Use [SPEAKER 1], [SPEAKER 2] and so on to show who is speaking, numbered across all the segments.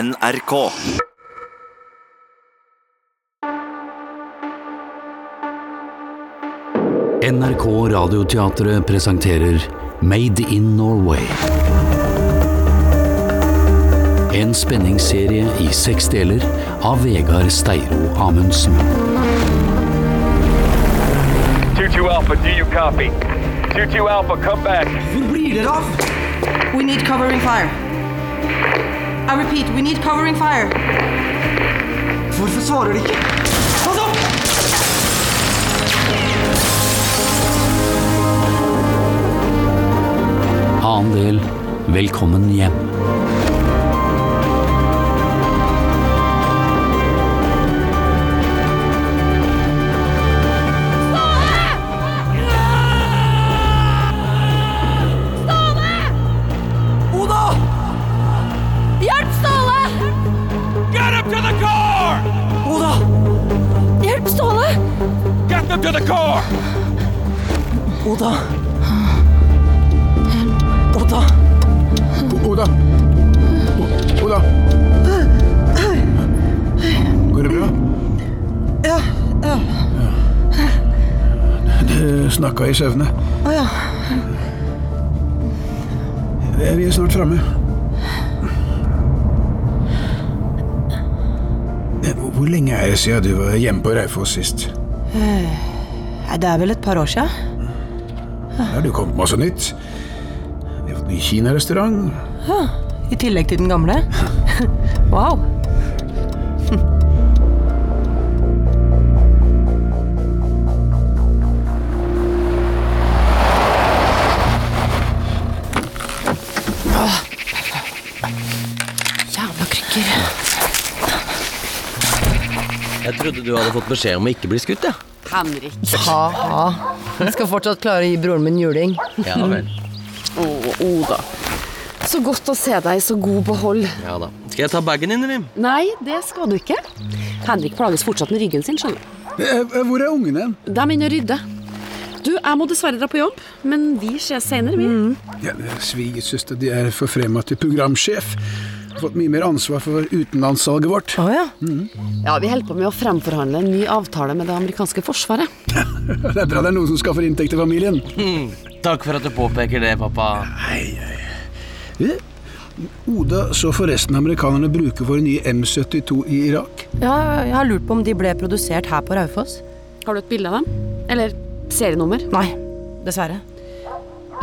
[SPEAKER 1] NRK.
[SPEAKER 2] NRK Radioteatret presenterer Made in Norway. En spenningsserie i seks deler av Vegard Steiro Amundsen.
[SPEAKER 3] 2-2 Alpha, do you copy? 2-2 Alpha, come back.
[SPEAKER 4] Read it off.
[SPEAKER 5] We need covering fire. I repeat, we need covering fire.
[SPEAKER 4] Hvorfor svarer de ikke? Pass opp!
[SPEAKER 2] Annen del Velkommen hjem.
[SPEAKER 6] Hjelp, Ståle!
[SPEAKER 3] Get him to the car!
[SPEAKER 4] Oda!
[SPEAKER 6] Hjelp, Ståle!
[SPEAKER 3] Get them to the car!
[SPEAKER 4] Oda! Oda!
[SPEAKER 7] Oda! O- Oda! Går det bra?
[SPEAKER 5] Ja, ja.
[SPEAKER 7] Du snakka i søvne.
[SPEAKER 5] Å ja.
[SPEAKER 7] Vi er snart framme. Hvor lenge er det siden du var hjemme på Raufoss sist?
[SPEAKER 5] Nei, Det er vel et par år sia.
[SPEAKER 7] Har du kommet med masse nytt? Vi har fått ny kinarestaurant.
[SPEAKER 5] I tillegg til den gamle. Wow. Jævla krykker.
[SPEAKER 8] Jeg trodde du hadde fått beskjed om å ikke bli skutt, ja.
[SPEAKER 9] Ha-ha. Jeg skal fortsatt klare å gi broren min juling.
[SPEAKER 8] Ja vel.
[SPEAKER 9] Så godt å se deg i så god behold.
[SPEAKER 8] Ja da. Skal jeg ta bagen din, eller?
[SPEAKER 10] Nei, det skal du ikke. Henrik plages fortsatt med ryggen sin, skjønner du.
[SPEAKER 7] Eh, eh, Hvor er ungene hen?
[SPEAKER 10] De er inne og rydder. Du, jeg må dessverre dra på jobb, men vi ses senere, vi.
[SPEAKER 9] Mm.
[SPEAKER 7] Ja, Svigersøster de er forfremma til programsjef. Har fått mye mer ansvar for utenlandssalget vårt. Mm.
[SPEAKER 5] Å ja.
[SPEAKER 10] Ja, vi holder på med å fremforhandle en ny avtale med det amerikanske forsvaret.
[SPEAKER 7] Det er bra det er noen som skaffer inntekt til familien.
[SPEAKER 10] Hmm.
[SPEAKER 8] Takk for at du påpeker det, pappa.
[SPEAKER 7] Ja. Eh, Oda så forresten amerikanerne bruke våre nye M72 i Irak.
[SPEAKER 5] ja. Jeg har lurt på om de ble produsert her på Raufoss.
[SPEAKER 10] Har du et bilde av dem? Eller serienummer?
[SPEAKER 5] Nei, dessverre.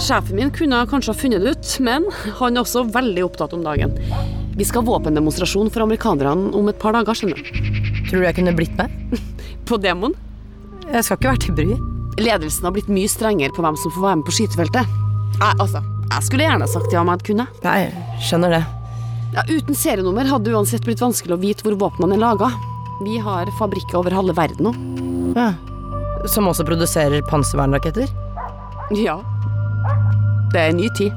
[SPEAKER 10] Sjefen min kunne kanskje ha funnet det ut, men han er også veldig opptatt om dagen. Vi skal ha våpendemonstrasjon for amerikanerne om et par dager, skjønner du.
[SPEAKER 9] Tror du jeg kunne blitt med?
[SPEAKER 10] På Demon.
[SPEAKER 5] Jeg skal ikke være til bry.
[SPEAKER 10] Ledelsen har blitt mye strengere på hvem som får være med på skytefeltet. Jeg, altså, jeg skulle gjerne sagt ja om jeg kunne.
[SPEAKER 9] Nei, skjønner det.
[SPEAKER 10] Ja, Uten serienummer hadde det uansett blitt vanskelig å vite hvor våpnene er laga. Vi har fabrikker over halve verden nå.
[SPEAKER 9] Ja. Som også produserer panservernraketter?
[SPEAKER 10] Ja. Det er en ny tid.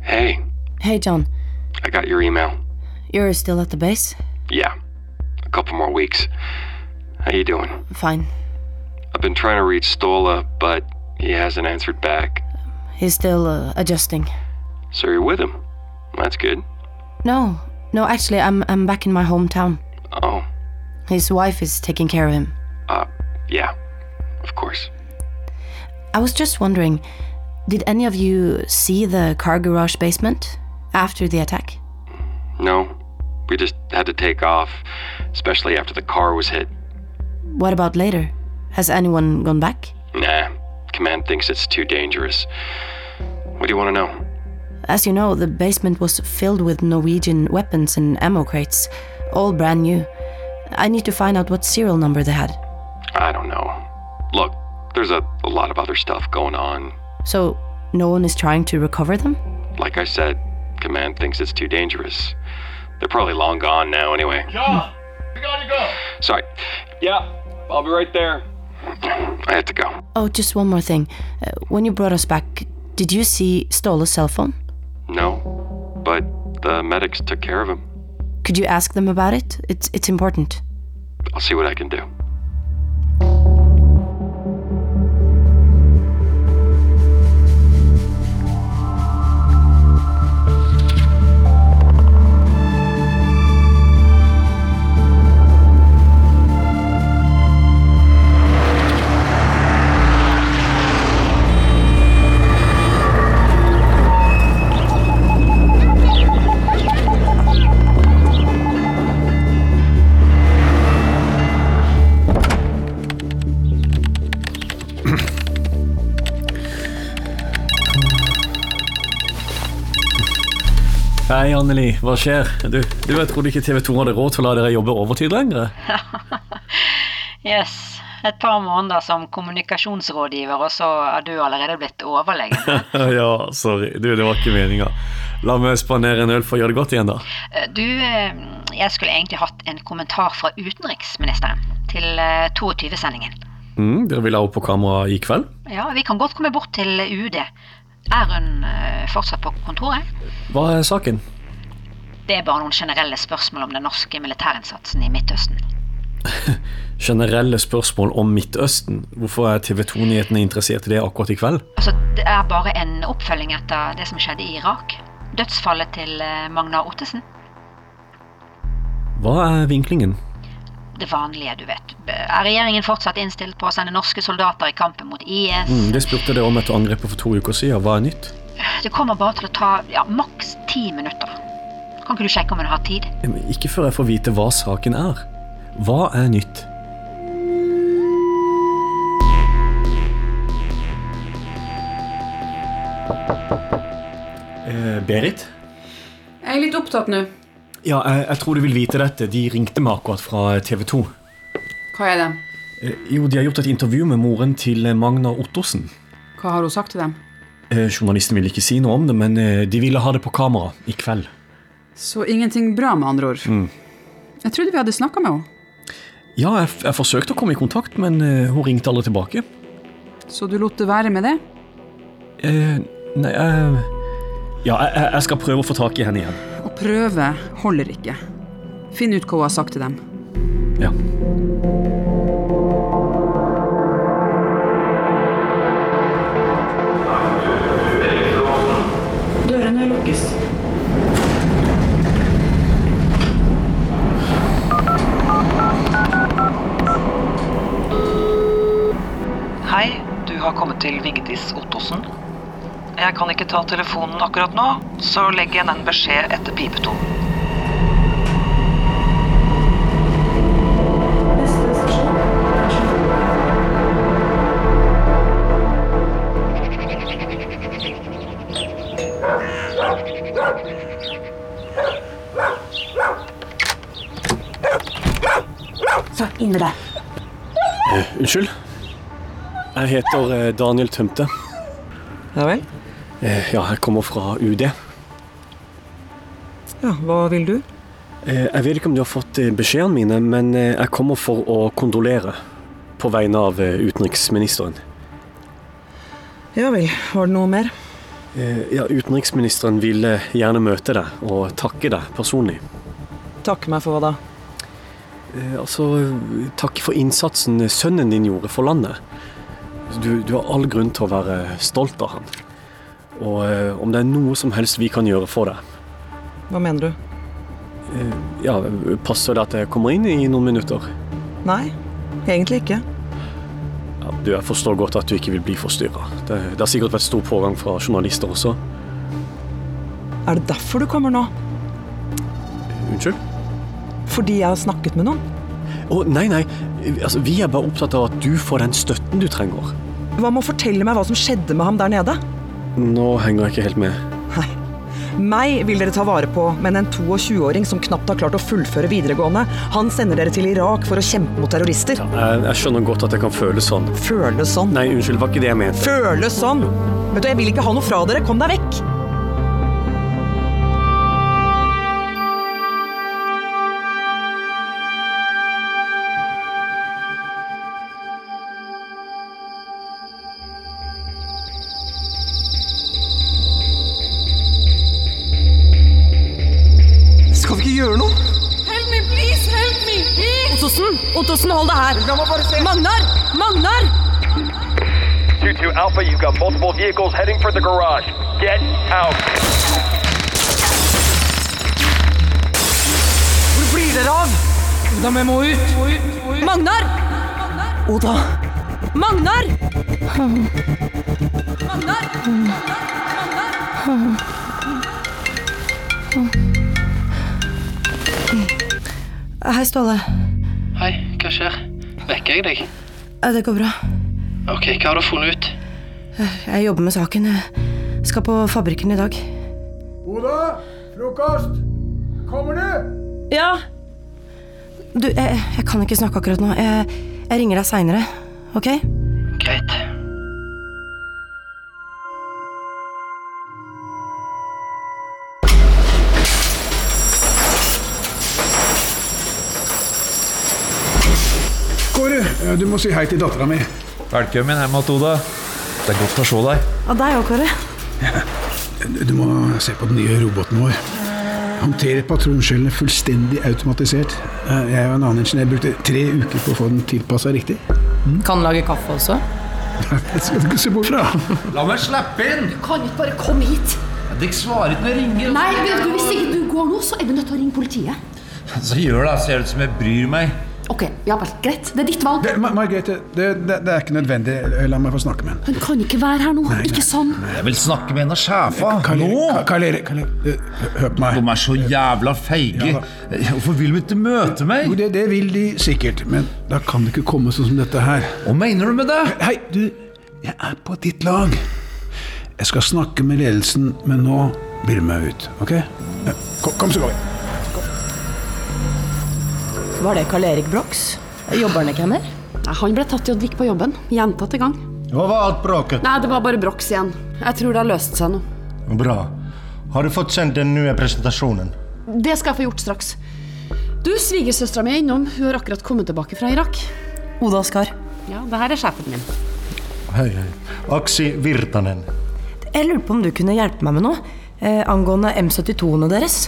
[SPEAKER 11] Hey,
[SPEAKER 5] Hey, John.
[SPEAKER 11] I got your email.
[SPEAKER 5] You're still at the base?
[SPEAKER 11] Yeah, a couple more weeks. How you doing?
[SPEAKER 5] Fine.
[SPEAKER 11] I've been trying to reach Stola, but he hasn't answered back.
[SPEAKER 5] He's still uh, adjusting.
[SPEAKER 11] So you're with him. That's good.
[SPEAKER 5] No, no, actually, I'm, I'm back in my hometown.
[SPEAKER 11] Oh,
[SPEAKER 5] His wife is taking care of him.
[SPEAKER 11] uh, yeah, of course.
[SPEAKER 5] I was just wondering did any of you see the car garage basement after the attack?
[SPEAKER 11] No, we just had to take off, especially after the car was hit.
[SPEAKER 5] What about later? Has anyone gone back?
[SPEAKER 11] Nah, command thinks it's too dangerous. What do you want to know?
[SPEAKER 5] As you know, the basement was filled with Norwegian weapons and ammo crates, all brand new. I need to find out what serial number they had.
[SPEAKER 11] I don't know. Look, there's a, a lot of other stuff going on.
[SPEAKER 5] So, no one is trying to recover them?
[SPEAKER 11] Like I said, command thinks it's too dangerous. They're probably long gone now, anyway.
[SPEAKER 3] John, we gotta go.
[SPEAKER 11] Sorry,
[SPEAKER 3] Yeah, I'll be right there.
[SPEAKER 11] I have to go.
[SPEAKER 5] Oh, just one more thing. Uh, when you brought us back, did you see Stola's cell phone?
[SPEAKER 11] No, but the medics took care of him.
[SPEAKER 5] Could you ask them about it? It's, it's important.
[SPEAKER 12] I'll see what I can do.
[SPEAKER 1] Hei, Anneli. Hva skjer? Du, du jeg trodde ikke TV 2 hadde råd til å la dere jobbe overtid lenger.
[SPEAKER 13] Yes. Et par måneder som kommunikasjonsrådgiver, og så er du allerede blitt overlege.
[SPEAKER 1] ja, sorry. Du, det var ikke meninga. La meg spandere en øl for å gjøre det godt igjen, da.
[SPEAKER 13] Du, eh, jeg skulle egentlig hatt en kommentar fra utenriksministeren til eh, 22-sendingen.
[SPEAKER 1] Mm, dere vil ha opp på kamera i kveld?
[SPEAKER 13] Ja, vi kan godt komme bort til UD. Er hun eh, fortsatt på kontoret?
[SPEAKER 1] Hva er saken?
[SPEAKER 13] Det er bare noen generelle spørsmål om den norske militærinnsatsen i Midtøsten.
[SPEAKER 1] Generelle spørsmål om Midtøsten. Hvorfor er TV 2-nyhetene interessert i det akkurat i kveld?
[SPEAKER 13] Altså, det er bare en oppfølging etter det som skjedde i Irak. Dødsfallet til eh, Magnar Ottesen.
[SPEAKER 1] Hva er vinklingen?
[SPEAKER 13] Det vanlige, du vet. Er regjeringen fortsatt innstilt på å sende norske soldater i kampen mot IS?
[SPEAKER 1] Mm, det spurte dere om etter angrepet for to uker siden. Hva er nytt?
[SPEAKER 13] Det kommer bare til å ta ja, maks ti minutter. Kan ikke du sjekke om hun har tid?
[SPEAKER 1] Men Ikke før jeg får vite hva saken er. Hva er nytt? Eh, Berit?
[SPEAKER 14] Jeg er litt opptatt nå.
[SPEAKER 1] Ja, jeg, jeg tror du vil vite dette. De ringte meg akkurat fra TV 2.
[SPEAKER 14] Hva er det?
[SPEAKER 1] Eh, jo, de har gjort et intervju med moren til Magna Ottersen.
[SPEAKER 14] Hva har hun sagt til dem?
[SPEAKER 1] Eh, journalisten ville ikke si noe om det, men eh, de ville ha det på kamera i kveld.
[SPEAKER 14] Så ingenting bra, med andre ord.
[SPEAKER 1] Mm.
[SPEAKER 14] Jeg trodde vi hadde snakka med henne.
[SPEAKER 1] Ja, jeg, f- jeg forsøkte å komme i kontakt, men eh, hun ringte aldri tilbake.
[SPEAKER 14] Så du lot det være med det?
[SPEAKER 1] Eh, nei, jeg Ja, jeg, jeg- jeg skal prøve å få tak i henne igjen.
[SPEAKER 14] Å prøve holder ikke. Finn ut hva hun har sagt til dem.
[SPEAKER 1] Ja.
[SPEAKER 11] Dørene lukkes.
[SPEAKER 15] Hei, du har kommet til Vigdis Ottosen. Jeg kan ikke ta telefonen akkurat nå, så legg igjen en beskjed etter pipetonen.
[SPEAKER 11] Så, inn med deg.
[SPEAKER 1] Eh, unnskyld? Jeg heter eh, Daniel Tømte.
[SPEAKER 15] Ja vel?
[SPEAKER 1] Eh, ja, jeg kommer fra UD.
[SPEAKER 15] Ja, hva vil du?
[SPEAKER 1] Eh, jeg vet ikke om du har fått eh, beskjedene mine, men eh, jeg kommer for å kondolere på vegne av eh, utenriksministeren.
[SPEAKER 15] Ja vel, var det noe mer?
[SPEAKER 1] Eh, ja, utenriksministeren vil eh, gjerne møte deg og takke deg personlig.
[SPEAKER 15] Takke meg for hva da?
[SPEAKER 1] Eh, altså, takke for innsatsen sønnen din gjorde for landet. Du, du har all grunn til å være stolt av han. Og eh, om det er noe som helst vi kan gjøre for deg,
[SPEAKER 15] Hva mener du?
[SPEAKER 1] Eh, Ja, passer det at jeg kommer inn i noen minutter?
[SPEAKER 15] Nei, egentlig ikke.
[SPEAKER 1] Ja, du, jeg forstår godt at du ikke vil bli forstyrra. Det, det har sikkert vært stor pågang fra journalister også.
[SPEAKER 15] Er det derfor du kommer nå?
[SPEAKER 1] Unnskyld?
[SPEAKER 15] Fordi jeg har snakket med noen?
[SPEAKER 1] Å, nei, nei. Altså, vi er bare opptatt av at du får den støtten du trenger.
[SPEAKER 15] Hva med å fortelle meg hva som skjedde med ham der nede?
[SPEAKER 1] Nå henger jeg ikke helt med.
[SPEAKER 15] Meg vil dere ta vare på, men en 22-åring som knapt har klart å fullføre videregående, han sender dere til Irak for å kjempe mot terrorister.
[SPEAKER 1] Jeg, jeg skjønner godt at jeg kan føle sånn.
[SPEAKER 15] Føle sånn?
[SPEAKER 1] Nei, unnskyld, var ikke det jeg mente.
[SPEAKER 15] Føle sånn! Vet du, jeg vil ikke ha noe fra dere. Kom deg vekk!
[SPEAKER 16] Skal vi ikke gjøre noe?
[SPEAKER 11] Help me, please, help me, please!
[SPEAKER 10] Ottosen?
[SPEAKER 17] Ottosen! Ottosen, hold deg her! Magnar! Magnar!
[SPEAKER 11] 22 Alpha, you've got multiple vehicles heading for the garage. Get out.
[SPEAKER 18] Hvor blir dere av? Oda, vi må ut.
[SPEAKER 17] Magnar!
[SPEAKER 18] Oda.
[SPEAKER 17] Magnar! Hei, Ståle.
[SPEAKER 14] Hei, hva skjer? Vekker jeg deg?
[SPEAKER 17] Eh, Det går bra.
[SPEAKER 14] Ok, hva har du funnet ut?
[SPEAKER 17] Jeg jobber med saken. Jeg skal på fabrikken i dag.
[SPEAKER 19] Oda, frokost! Kommer du?
[SPEAKER 17] Ja? Du, jeg, jeg kan ikke snakke akkurat nå. Jeg, jeg ringer deg seinere, OK?
[SPEAKER 14] Greit.
[SPEAKER 7] Kåre, eh, du må si hei til Eh, dattera mi.
[SPEAKER 3] Velkommen hjem igjen, Oda. Det er godt å se deg.
[SPEAKER 17] Av deg òg, Kåre.
[SPEAKER 7] Du- Du må se på den nye roboten vår. Håndterer patronskjellene fullstendig automatisert. Eh, Jeg og en annen ingeniør brukte tre uker på å få den tilpassa riktig.
[SPEAKER 9] Mm. Kan lage kaffe også.
[SPEAKER 7] Det skal du ikke se bort fra.
[SPEAKER 3] La meg slippe inn!
[SPEAKER 20] Du kan ikke bare komme hit.
[SPEAKER 3] Dere svarer ikke når jeg ringer.
[SPEAKER 20] Nei, vet du, Hvis ikke du går nå, så er du nødt til å ringe politiet.
[SPEAKER 3] Så gjør det. Ser ut som jeg bryr meg.
[SPEAKER 20] Ok, ja vel, Greit. Det er ditt valg.
[SPEAKER 7] Det, Ma- Margrethe, det, det, det er ikke nødvendig. La meg få snakke med henne.
[SPEAKER 20] Han kan ikke være her nå. ikke sånn.
[SPEAKER 3] Jeg vil snakke med en av sjefa. Nå!
[SPEAKER 7] Karl Erik, hør på meg.
[SPEAKER 3] De er så jævla feige. Hvorfor vil de ikke møte meg?
[SPEAKER 7] Jo, det, det vil de sikkert, men da kan det ikke komme sånn som dette her.
[SPEAKER 3] Hva mener du med det?
[SPEAKER 7] Hei, du, jeg er på ditt lag. Jeg skal snakke med ledelsen, men nå blir du meg ut, ok? Ja, Kom, kom så går vi.
[SPEAKER 9] Var det Karl Erik Brox? Jobber han ikke her mer?
[SPEAKER 10] Nei, Han ble tatt i å drikke på jobben. Gjentatte gang.
[SPEAKER 21] Hva var alt bråket?
[SPEAKER 10] Nei, det var bare Brox igjen. Jeg tror det har løst seg nå.
[SPEAKER 21] Bra. Har du fått sendt den nye presentasjonen?
[SPEAKER 10] Det skal jeg få gjort straks. Du, Svigersøstera mi er innom. Hun har akkurat kommet tilbake fra Irak.
[SPEAKER 9] Oda Skar.
[SPEAKER 10] Ja, det her er sjefen min.
[SPEAKER 21] Hei, hei. Aksi Virtanen.
[SPEAKER 9] Jeg lurer på om du kunne hjelpe meg med noe eh, angående M72-ene deres.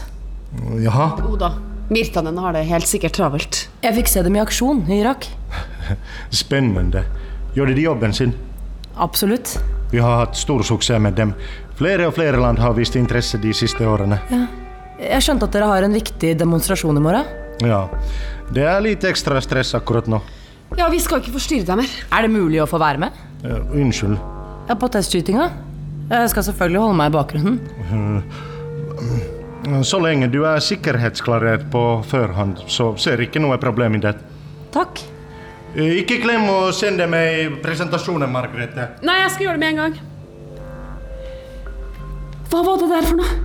[SPEAKER 21] Jaha?
[SPEAKER 10] Oda. Mirtanen har det helt sikkert travelt.
[SPEAKER 9] Jeg fikk se dem i aksjon i Irak.
[SPEAKER 21] Spennende. Gjorde de jobben sin?
[SPEAKER 9] Absolutt.
[SPEAKER 21] Vi har hatt stor suksess med dem. Flere og flere land har vist interesse de siste årene.
[SPEAKER 9] Ja. Jeg skjønte at dere har en viktig demonstrasjon i morgen.
[SPEAKER 21] Ja. Det er litt ekstra stress akkurat nå.
[SPEAKER 10] Ja, vi skal ikke forstyrre deg mer.
[SPEAKER 9] Er det mulig å få være med?
[SPEAKER 21] Eh, unnskyld.
[SPEAKER 9] Ja, på testskytinga. Jeg skal selvfølgelig holde meg i bakgrunnen.
[SPEAKER 21] Eh, Så lenge du er sikkerhetsklarert på forhånd, så ser ikke noe problem i det.
[SPEAKER 9] Takk.
[SPEAKER 21] Eh, Ikke glem å sende meg presentasjonen, Margrethe.
[SPEAKER 10] Nei, jeg skal gjøre det med en gang. Hva var det der for noe?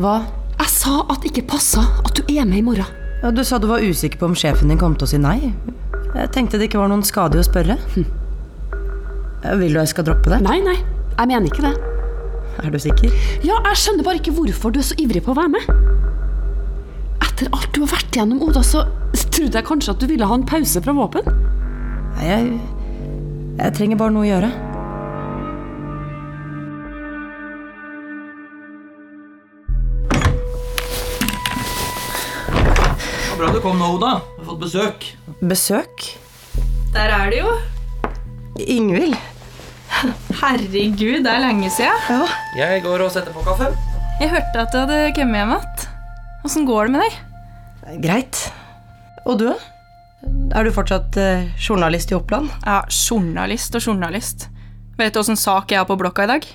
[SPEAKER 9] Hva?
[SPEAKER 10] Jeg sa at det ikke passa at du er med i morgen.
[SPEAKER 9] Ja, du sa du var usikker på om sjefen din kom til å si nei. Jeg tenkte det ikke var noen skade i å spørre.
[SPEAKER 10] Hm.
[SPEAKER 9] Eh, Vil du jeg skal droppe det?
[SPEAKER 10] Nei, nei. Jeg mener ikke det.
[SPEAKER 9] Er du sikker?
[SPEAKER 10] Ja, jeg skjønner bare ikke hvorfor du er så ivrig på å være med. Etter alt du har vært gjennom, Oda, så trodde jeg kanskje at du ville ha en pause fra våpen.
[SPEAKER 9] Nei, jeg, jeg trenger bare noe å gjøre.
[SPEAKER 8] Det var bra du kom nå, Oda. Du har fått besøk.
[SPEAKER 9] Besøk?
[SPEAKER 22] Der er det jo.
[SPEAKER 9] Ingvild?
[SPEAKER 22] Herregud, det er lenge siden.
[SPEAKER 8] Jeg går og setter på kaffe.
[SPEAKER 22] Jeg hørte at du hadde kommet hjem igjen. Åssen går det med deg?
[SPEAKER 9] Greit. Og du? Er du fortsatt eh, journalist i Oppland?
[SPEAKER 22] Ja, journalist og journalist. Vet du åssen sak jeg har på blokka i dag?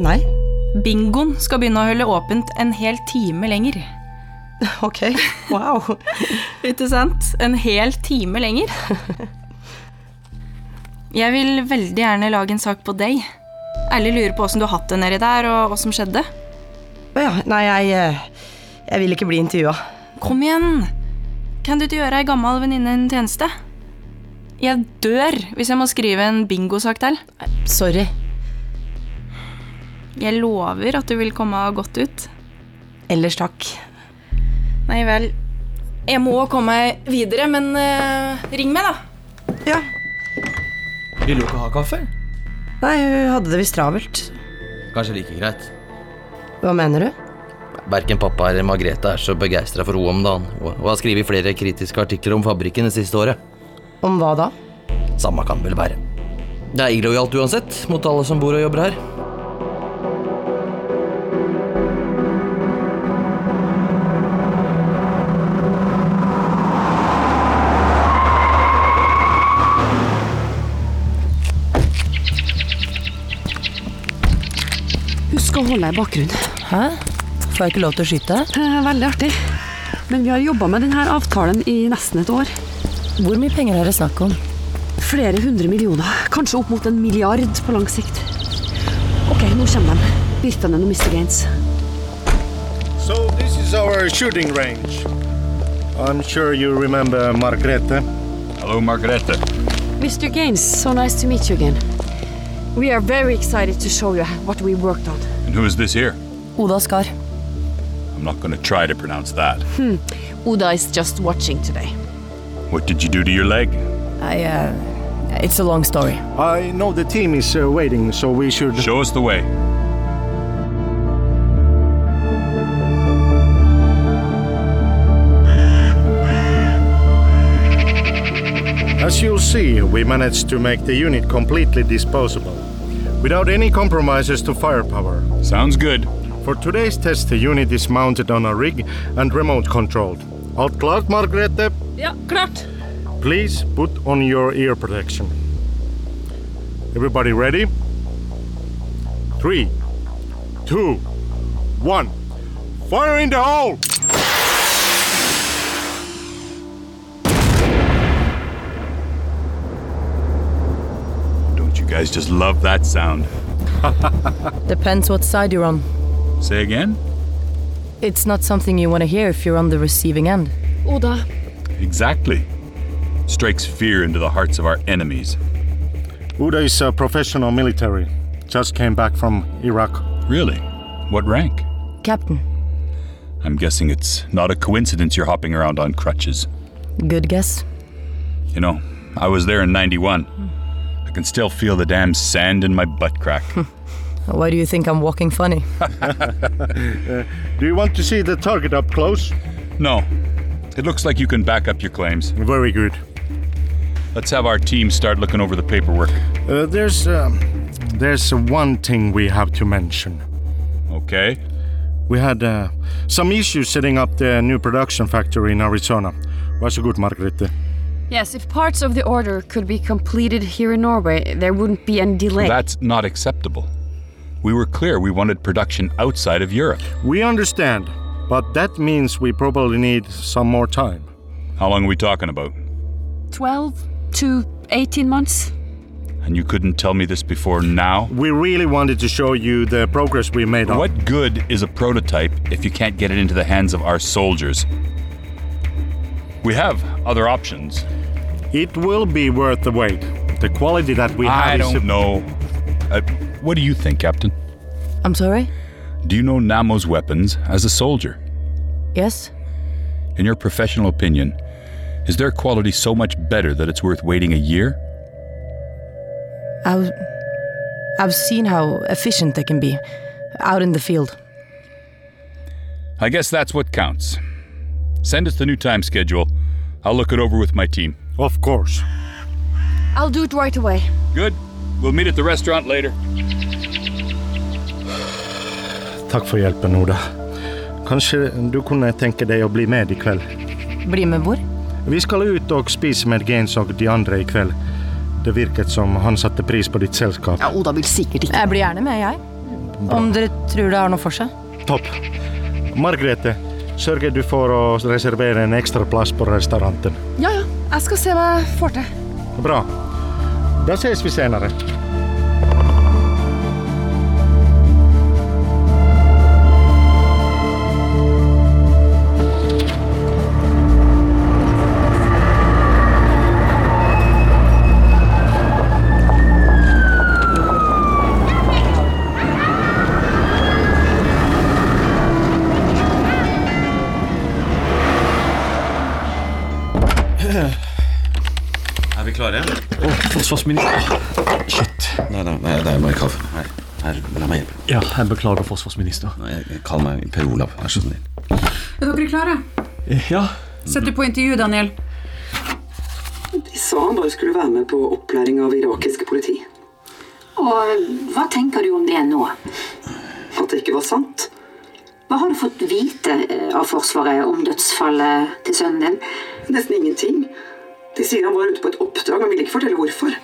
[SPEAKER 9] Nei.
[SPEAKER 22] Bingoen skal begynne å holde åpent en hel time lenger.
[SPEAKER 9] Ok, wow.
[SPEAKER 22] Ikke sant? En hel time lenger. Jeg vil veldig gjerne lage en sak på deg. Alle lurer på åssen du har hatt det nedi der, og hva som skjedde.
[SPEAKER 9] Å ja, nei, jeg, eh, jeg vil ikke bli intervjua.
[SPEAKER 22] Kom igjen! Kan du ikke gjøre ei gammel venninne en tjeneste? Jeg dør hvis jeg må skrive en bingosak til.
[SPEAKER 9] Sorry.
[SPEAKER 22] Jeg lover at du vil komme godt ut.
[SPEAKER 9] Ellers takk.
[SPEAKER 22] Nei vel. Jeg må komme videre, men eh, ring meg, da.
[SPEAKER 8] Vil du ikke ha kaffe?
[SPEAKER 9] Nei, hun hadde det visst travelt.
[SPEAKER 8] Kanskje like greit.
[SPEAKER 9] Hva mener du?
[SPEAKER 8] Verken pappa eller Margrethe er så begeistra for henne om dagen, og og har skrevet flere kritiske artikler om fabrikken det siste året.
[SPEAKER 9] Om hva da?
[SPEAKER 8] Samme kan det vel være. Det er illojalt uansett, mot alle som bor og jobber her.
[SPEAKER 10] Husk å holde deg i bakgrunnen.
[SPEAKER 9] Hæ? Får jeg ikke lov til å skyte?
[SPEAKER 10] Veldig artig. Men vi har jobba med denne avtalen i nesten et år.
[SPEAKER 9] Hvor mye penger er det snakk om?
[SPEAKER 10] Flere hundre millioner. Kanskje opp mot en milliard på lang sikt. Ok, nå kommer de. Birtene og Mr. Gaines.
[SPEAKER 21] So this is our shooting range. I'm sure you remember Margrethe. Hello, Margrethe.
[SPEAKER 10] Mr. Gaines, so nice to meet you again. We are very excited to show you what we worked on.
[SPEAKER 23] And who is this here?
[SPEAKER 9] Oda Skar.
[SPEAKER 23] I'm not going to try to pronounce that.
[SPEAKER 10] Hmm. Uda is just watching today.
[SPEAKER 23] What did you do to your leg?
[SPEAKER 9] I, uh, it's a long story.
[SPEAKER 21] I know the team is uh, waiting, so we should.
[SPEAKER 23] Show us the way.
[SPEAKER 21] As you'll see, we managed to make the unit completely disposable, without any compromises to firepower.
[SPEAKER 23] Sounds good.
[SPEAKER 21] For today's test, the unit is mounted on a rig and remote controlled. Alt klart, Margrethe?
[SPEAKER 10] Ja, klart.
[SPEAKER 21] Please put on your ear protection. Everybody ready? Three, two, one. Fire in the hole!
[SPEAKER 23] Don't you guys just love that sound?
[SPEAKER 9] Depends what side you're on.
[SPEAKER 23] Say again?
[SPEAKER 9] It's not something you want to hear if you're on the receiving end.
[SPEAKER 10] Oda,
[SPEAKER 23] Exactly. Strikes fear into the hearts of our enemies.
[SPEAKER 21] Uda is a professional military. Just came back from Iraq.
[SPEAKER 23] Really? What rank?
[SPEAKER 9] Captain,
[SPEAKER 23] I'm guessing it's not a coincidence you're hopping around on crutches.
[SPEAKER 9] good guess.
[SPEAKER 23] You know, I was there in 91. I can still feel the damn sand in my butt crack.
[SPEAKER 9] Why do you think I'm walking funny?
[SPEAKER 21] Uh, do you want to see the target up close?
[SPEAKER 23] No. It looks like you can back up your claims.
[SPEAKER 21] Very good.
[SPEAKER 23] Let's have our team start looking over the paperwork.
[SPEAKER 21] Uh, there's um, there's one thing we have to mention.
[SPEAKER 23] Okay.
[SPEAKER 21] We had uh, some issues setting up the new production factory in Arizona. Was good, Margrethe.
[SPEAKER 10] Yes, if parts of the order could be completed here in Norway, there wouldn't be any delay.
[SPEAKER 23] That's not acceptable. We were clear we wanted production outside of Europe.
[SPEAKER 21] We understand, but that means we probably need some more time.
[SPEAKER 23] How long are we talking about?
[SPEAKER 10] 12 to 18 months.
[SPEAKER 23] And you couldn't tell me this before now?
[SPEAKER 21] We really wanted to show you the progress we made on.
[SPEAKER 23] What good is a prototype if you can't get it into the hands of our soldiers? We have other options.
[SPEAKER 21] It will be worth the wait. The quality that we have
[SPEAKER 23] I
[SPEAKER 21] is.
[SPEAKER 23] don't know. Uh, what do you think, Captain?
[SPEAKER 9] I'm sorry?
[SPEAKER 23] Do you know Namo's weapons as a soldier?
[SPEAKER 9] Yes?
[SPEAKER 23] In your professional opinion, is their quality so much better that it's worth waiting a year?
[SPEAKER 9] I've, I've seen how efficient they can be out in the field.
[SPEAKER 23] I guess that's what counts. Send us the new time schedule. I'll look it over with my team.
[SPEAKER 21] Of course.
[SPEAKER 10] I'll do it right away.
[SPEAKER 23] Good. We'll meet at the restaurant later.
[SPEAKER 21] Takk for hjelpen, Oda. Kanskje du kunne tenke deg å bli med i kveld?
[SPEAKER 9] Bli med hvor?
[SPEAKER 21] Vi skal ut og spise med Gaines og de andre i kveld. Det virket som han satte pris på ditt selskap.
[SPEAKER 10] Ja, Oda vil sikkert ikke.
[SPEAKER 9] Jeg blir gjerne med, jeg. Om dere tror det har noe for seg.
[SPEAKER 21] Topp. Margrethe, sørger du for å reservere en ekstra plass på restauranten?
[SPEAKER 10] Ja, ja. Jeg skal se hva jeg får til.
[SPEAKER 21] Bra. Da ses vi senere.
[SPEAKER 13] Er vi klare?
[SPEAKER 1] Å, forsvarsminister.
[SPEAKER 13] Nei, nei, nei, det er bare kaffe. Nei.
[SPEAKER 2] Her, la meg hjelpe.
[SPEAKER 1] Ja, jeg beklager, forsvarsminister.
[SPEAKER 2] Kall meg Per Olav, vær så snill.
[SPEAKER 14] Er dere klare?
[SPEAKER 1] Eh, Ja.
[SPEAKER 14] Sett deg på intervju, Daniel.
[SPEAKER 15] De sa han bare skulle være med på opplæring av irakiske politi.
[SPEAKER 13] Og hva tenker du om det nå?
[SPEAKER 15] At det ikke var sant.
[SPEAKER 13] Hva har du fått vite eh, av Forsvaret om dødsfallet til sønnen din?
[SPEAKER 15] Nesten ingenting. De sier han var ute på et oppdrag, men vil ikke fortelle hvorfor.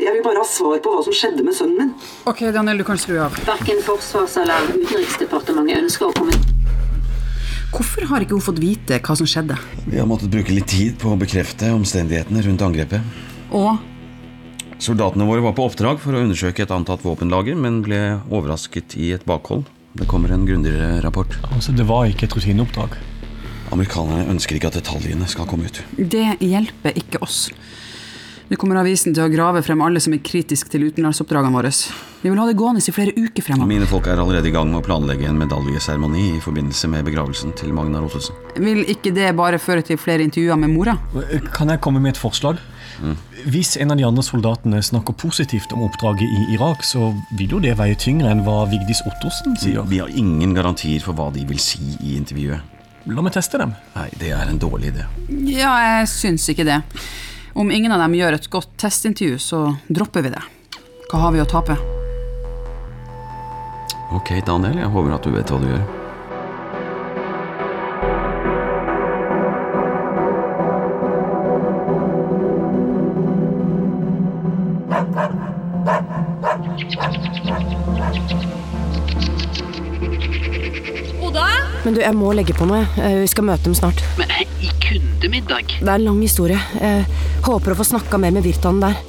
[SPEAKER 15] Jeg vil bare ha svar på hva som skjedde med sønnen min.
[SPEAKER 14] Ok, Daniel, du kan skru av.
[SPEAKER 13] Verken Forsvars- eller Utenriksdepartementet ønsker å komme
[SPEAKER 14] Hvorfor har ikke hun fått vite hva som skjedde?
[SPEAKER 2] Vi har måttet bruke litt tid på å bekrefte omstendighetene rundt angrepet.
[SPEAKER 14] Og
[SPEAKER 2] Soldatene våre var på oppdrag for å undersøke et antatt våpenlager, men ble overrasket i et bakhold. Det kommer en grundigere rapport.
[SPEAKER 1] Altså, Det var ikke et rutineoppdrag?
[SPEAKER 2] Amerikanerne ønsker ikke at detaljene skal komme ut.
[SPEAKER 14] det hjelper ikke oss. Nå kommer avisen til å grave frem alle som er kritisk til utenlandsoppdragene våre. Vi vil ha det gående i flere uker fremover.
[SPEAKER 2] Mine folk er allerede i gang med å planlegge en medaljeseremoni i forbindelse med begravelsen til Magnar Ottesen.
[SPEAKER 14] Vil ikke det bare føre til flere intervjuer med mora?
[SPEAKER 1] Kan jeg komme med et forslag? Hvis en av de andre soldatene snakker positivt om oppdraget i Irak, så vil jo det veie tyngre enn hva Vigdis Ottersen
[SPEAKER 2] Vi,
[SPEAKER 1] sier.
[SPEAKER 2] vi har ingen garantier for hva de vil si i intervjuet.
[SPEAKER 1] La meg teste dem.
[SPEAKER 2] Nei, det er en dårlig idé.
[SPEAKER 14] Ja, jeg syns ikke det. Om ingen av dem gjør et godt testintervju, så dropper vi det. Hva har vi å tape?
[SPEAKER 2] Ok, Daniel, jeg håper at du vet hva du gjør.
[SPEAKER 9] Oda? Men du, jeg må legge på meg. Eh, Vi skal møte dem snart.
[SPEAKER 10] Men i kundemiddag
[SPEAKER 9] Det er en lang historie. Eh, håper å få snakka mer med Virtanen der.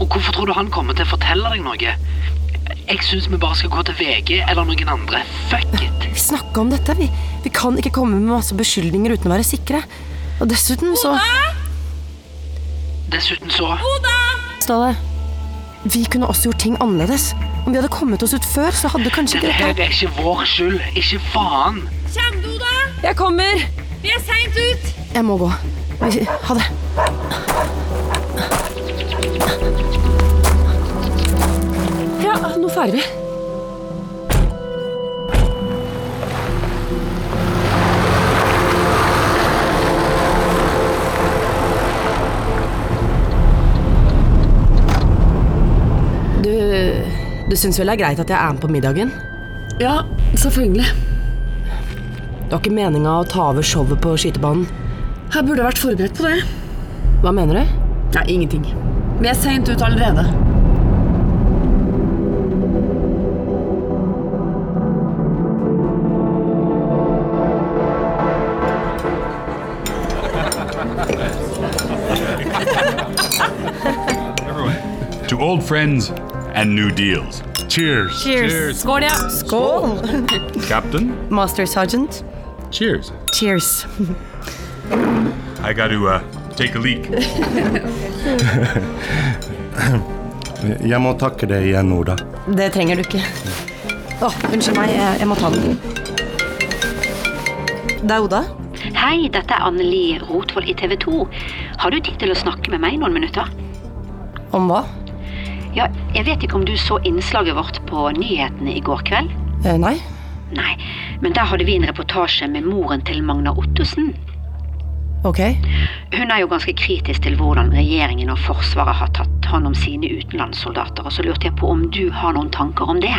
[SPEAKER 10] Og hvorfor tror du han kommer til å fortelle deg noe? Jeg syns vi bare skal gå til VG eller noen andre. Fuck it.
[SPEAKER 9] Vi snakka om dette. Vi, vi kan ikke komme med masse beskyldninger uten å være sikre. Og dessuten så
[SPEAKER 10] Dessuten så
[SPEAKER 9] Ståle, vi kunne også gjort ting annerledes. Om vi hadde kommet oss ut før, så hadde kanskje
[SPEAKER 10] Dette
[SPEAKER 9] ikke
[SPEAKER 10] her
[SPEAKER 9] dette
[SPEAKER 10] er ikke vår skyld. Ikke faen.
[SPEAKER 9] Kjem du, da? Jeg kommer.
[SPEAKER 24] Vi er seint ut.
[SPEAKER 9] Jeg må gå. Vi- Ha det. Ja, nå drar vi. Du, du syns vel det er greit at jeg er med på middagen?
[SPEAKER 25] Ja, selvfølgelig.
[SPEAKER 9] Det var ikke meninga å ta over showet på skytebanen.
[SPEAKER 25] Jeg burde vært forberedt på det.
[SPEAKER 9] Hva mener du?
[SPEAKER 25] Nei, ingenting. Vi er seint ut allerede.
[SPEAKER 23] To old friends and new deals. Cheers.
[SPEAKER 9] Skål, ja. Skål.
[SPEAKER 23] Captain,
[SPEAKER 9] Master sergeant.
[SPEAKER 23] cheers.
[SPEAKER 9] Cheers.
[SPEAKER 23] I got to uh, take a leak.
[SPEAKER 21] Jeg må takke deg igjen, Oda.
[SPEAKER 9] Det trenger du ikke. Å, unnskyld meg. Jeg, jeg må ta den. Det er Oda.
[SPEAKER 13] Hei, dette er Anneli Rotvold i TV 2. Har du tid til å snakke med meg noen minutter?
[SPEAKER 9] Om hva?
[SPEAKER 13] Ja, jeg vet ikke om du så innslaget vårt på nyhetene i går kveld?
[SPEAKER 9] Eh, nei.
[SPEAKER 13] Nei, men der hadde vi en reportasje med moren til Magna Ottosen.
[SPEAKER 9] Ok.
[SPEAKER 13] Hun er jo ganske kritisk til hvordan regjeringen og Forsvaret har tatt hånd om sine utenlandssoldater, og så lurte jeg på om du har noen tanker om det?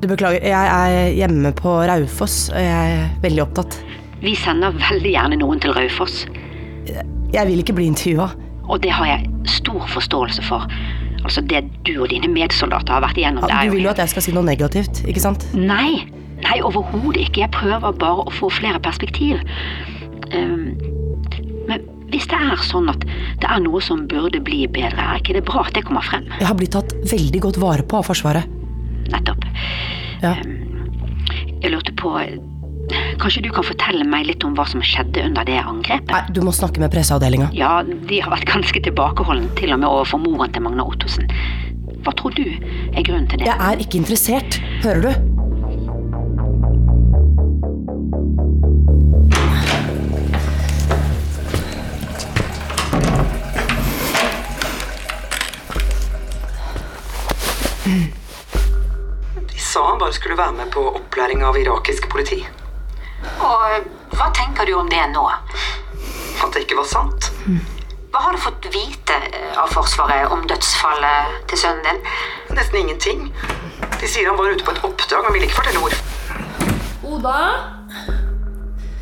[SPEAKER 9] Du beklager. Jeg er hjemme på Raufoss, og jeg er veldig opptatt.
[SPEAKER 13] Vi sender veldig gjerne noen til Raufoss.
[SPEAKER 9] Jeg vil ikke bli intervjua.
[SPEAKER 13] Og det har jeg stor forståelse for. Altså Det du og dine medsoldater har vært igjennom, det
[SPEAKER 9] Ja,
[SPEAKER 13] er
[SPEAKER 9] du
[SPEAKER 13] jo
[SPEAKER 9] vil jo at jeg skal si noe negativt, ikke sant?
[SPEAKER 13] Nei, nei overhodet ikke. Jeg prøver bare å få flere perspektiv. Ehm, men hvis det er sånn at det er noe som burde bli bedre, er ikke det bra at det kommer frem?
[SPEAKER 9] Jeg har blitt tatt veldig godt vare på av Forsvaret.
[SPEAKER 13] Nettopp.
[SPEAKER 9] Ja.
[SPEAKER 13] Jeg lurte på Kanskje du kan fortelle meg litt om hva som skjedde under det angrepet?
[SPEAKER 9] Nei, du må snakke med presseavdelinga.
[SPEAKER 13] Ja, de har vært ganske tilbakeholdne, til og med overfor moren til Magna Ottosen. Hva tror du er grunnen til det?
[SPEAKER 9] Jeg er ikke interessert, hører du?
[SPEAKER 11] bare skulle være med på opplæring av irakisk politi.
[SPEAKER 13] Og hva tenker du om det nå?
[SPEAKER 11] At det ikke var sant.
[SPEAKER 13] Hva har du fått vite eh, av Forsvaret om dødsfallet til sønnen din?
[SPEAKER 11] Nesten ingenting. De sier han var ute på et oppdrag, men vil ikke fortelle hvorfor.
[SPEAKER 6] Oda?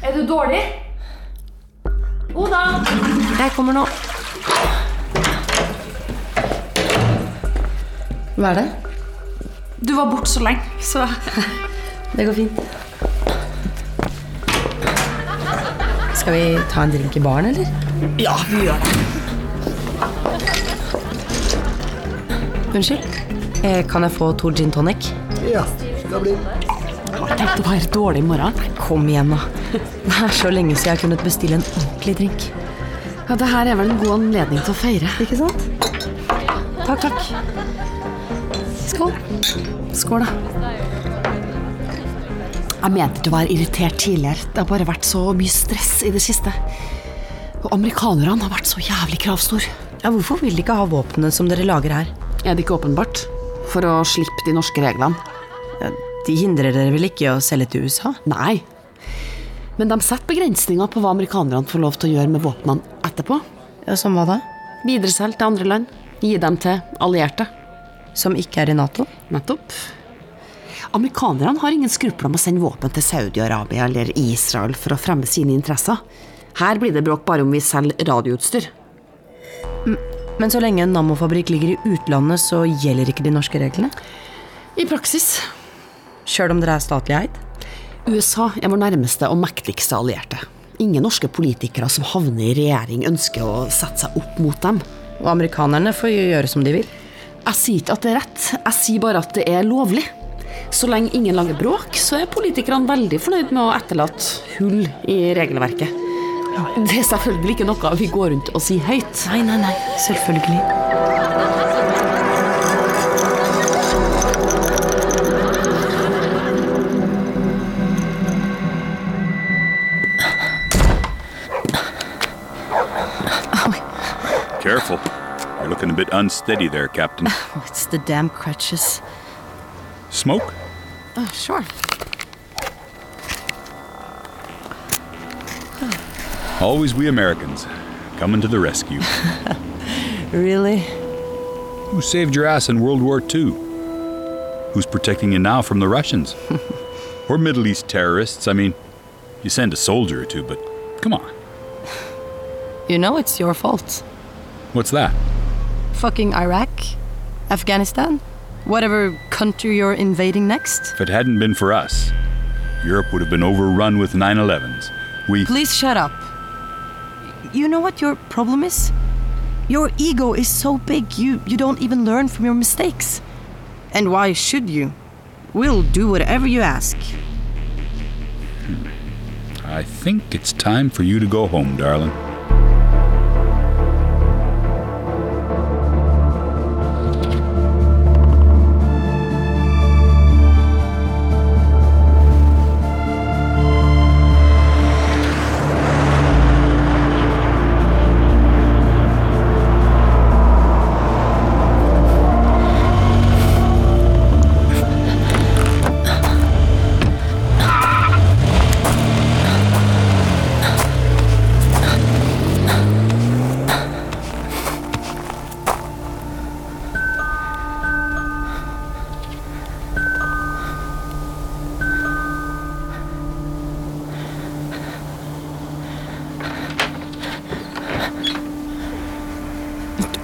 [SPEAKER 6] Er du dårlig? Oda?
[SPEAKER 9] Jeg kommer nå. Hva er det?
[SPEAKER 22] Du var borte så lenge, så
[SPEAKER 9] Det går fint. Skal vi ta en drink i baren, eller?
[SPEAKER 22] Ja, vi gjør det.
[SPEAKER 9] Unnskyld? Eh, kan jeg få to gin tonic?
[SPEAKER 4] Ja, det blir
[SPEAKER 9] Tenk å være dårlig i morgen. Kom igjen, da. Det er så lenge siden jeg har kunnet bestille en ordentlig drink.
[SPEAKER 10] Ja, Det her er vel en god anledning til å feire.
[SPEAKER 9] Ikke sant? Takk, takk.
[SPEAKER 10] Skål. Skål, da. Jeg mente ikke å være irritert tidligere. Det har bare vært så mye stress i det siste. Og amerikanerne har vært så jævlig kravstor.
[SPEAKER 9] Ja, Hvorfor vil de ikke ha våpnene som dere lager her?
[SPEAKER 10] Er det ikke åpenbart? For å slippe de norske reglene.
[SPEAKER 9] De hindrer dere vel ikke i å selge til USA?
[SPEAKER 10] Nei. Men de setter begrensninger på hva amerikanerne får lov til å gjøre med våpnene etterpå.
[SPEAKER 9] Ja, Som hva da?
[SPEAKER 10] Videreselge til andre land. Gi dem til allierte.
[SPEAKER 9] Som ikke er i Nato?
[SPEAKER 10] Nettopp. Amerikanerne har ingen skrupler om å sende våpen til Saudi-Arabia eller Israel for å fremme sine interesser. Her blir det bråk bare om vi selger radioutstyr.
[SPEAKER 9] Men så lenge en Nammo-fabrikk ligger i utlandet, så gjelder ikke de norske reglene?
[SPEAKER 10] I praksis.
[SPEAKER 9] Sjøl om dere er statlig eid?
[SPEAKER 10] USA er vår nærmeste og mektigste allierte. Ingen norske politikere som havner i regjering, ønsker å sette seg opp mot dem.
[SPEAKER 9] Og amerikanerne får gjøre som de vil.
[SPEAKER 10] Jeg sier ikke at det er rett, jeg sier bare at det er lovlig. Så lenge ingen lager bråk, så er politikerne veldig fornøyd med å etterlate hull i regelverket. Det er selvfølgelig ikke noe vi går rundt og sier høyt.
[SPEAKER 9] Nei, nei, nei. Selvfølgelig.
[SPEAKER 23] Careful. You're looking a bit unsteady there, Captain.
[SPEAKER 9] Oh, it's the damn crutches.
[SPEAKER 23] Smoke?
[SPEAKER 9] Oh, sure.
[SPEAKER 23] Always we Americans. Coming to the rescue.
[SPEAKER 9] Really?
[SPEAKER 23] Who saved your ass in World War II? Who's protecting you now from the Russians? or Middle East terrorists? I mean, you send a soldier or two, but come on.
[SPEAKER 9] You know it's your fault.
[SPEAKER 23] What's that?
[SPEAKER 9] Fucking Iraq, Afghanistan, whatever country you're invading next.
[SPEAKER 23] If it hadn't been for us, Europe would have been overrun with 9 11s. We.
[SPEAKER 9] Please shut up. You know what your problem is? Your ego is so big, you, you don't even learn from your mistakes. And why should you? We'll do whatever you ask.
[SPEAKER 23] I think it's time for you to go home, darling.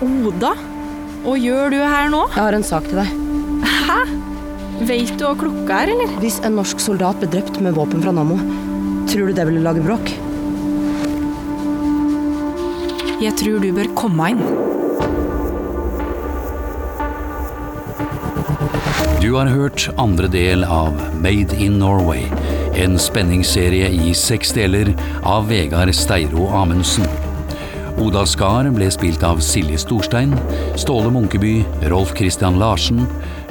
[SPEAKER 22] Oda? Hva gjør du her nå?
[SPEAKER 9] Jeg har en sak til deg.
[SPEAKER 22] Hæ? Veit du hva klokka er, eller?
[SPEAKER 9] Hvis en norsk soldat ble drept med våpen fra Nammo, tror du det ville lage bråk?
[SPEAKER 22] Jeg tror du bør komme inn.
[SPEAKER 3] Du har hørt andre del av Made in Norway, en spenningsserie i seks deler av Vegard Steiro Amundsen. Oda Skar ble spilt av Silje Storstein, Ståle Munkeby, Rolf Christian Larsen,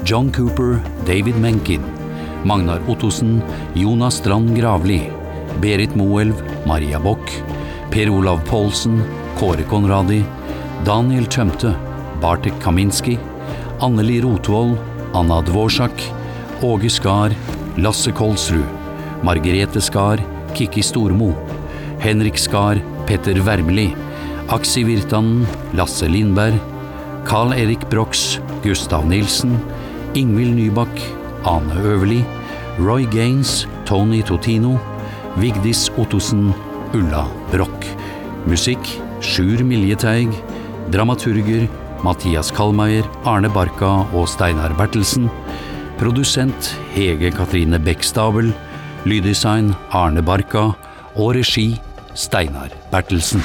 [SPEAKER 3] John Cooper, David Menken, Magnar Ottosen, Jonas Strand Gravli, Berit Moelv, Maria Bock, Per Olav Poulsen, Kåre Konradi, Daniel Tømte, Bartek Kaminski, Anneli Rotvold, Anna Dvorsak, Åge Skar, Lasse Kolsrud, Margrete Skar, Kikki Stormo, Henrik Skar, Petter Wermli, Aksi Virtanen, Lasse Lindberg, Carl Erik Brox, Gustav Nilsen, Ingvild Nybakk, Ane Øverli, Roy Gaines, Tony Totino, Vigdis Ottosen, Ulla Broch. Musikk Sjur Miljeteig. Dramaturger Mathias Kallmeier, Arne Barka og Steinar Bertelsen. Produsent Hege Katrine Bekkstabel. Lyddesign Arne Barka. Og regi Steinar Bertelsen.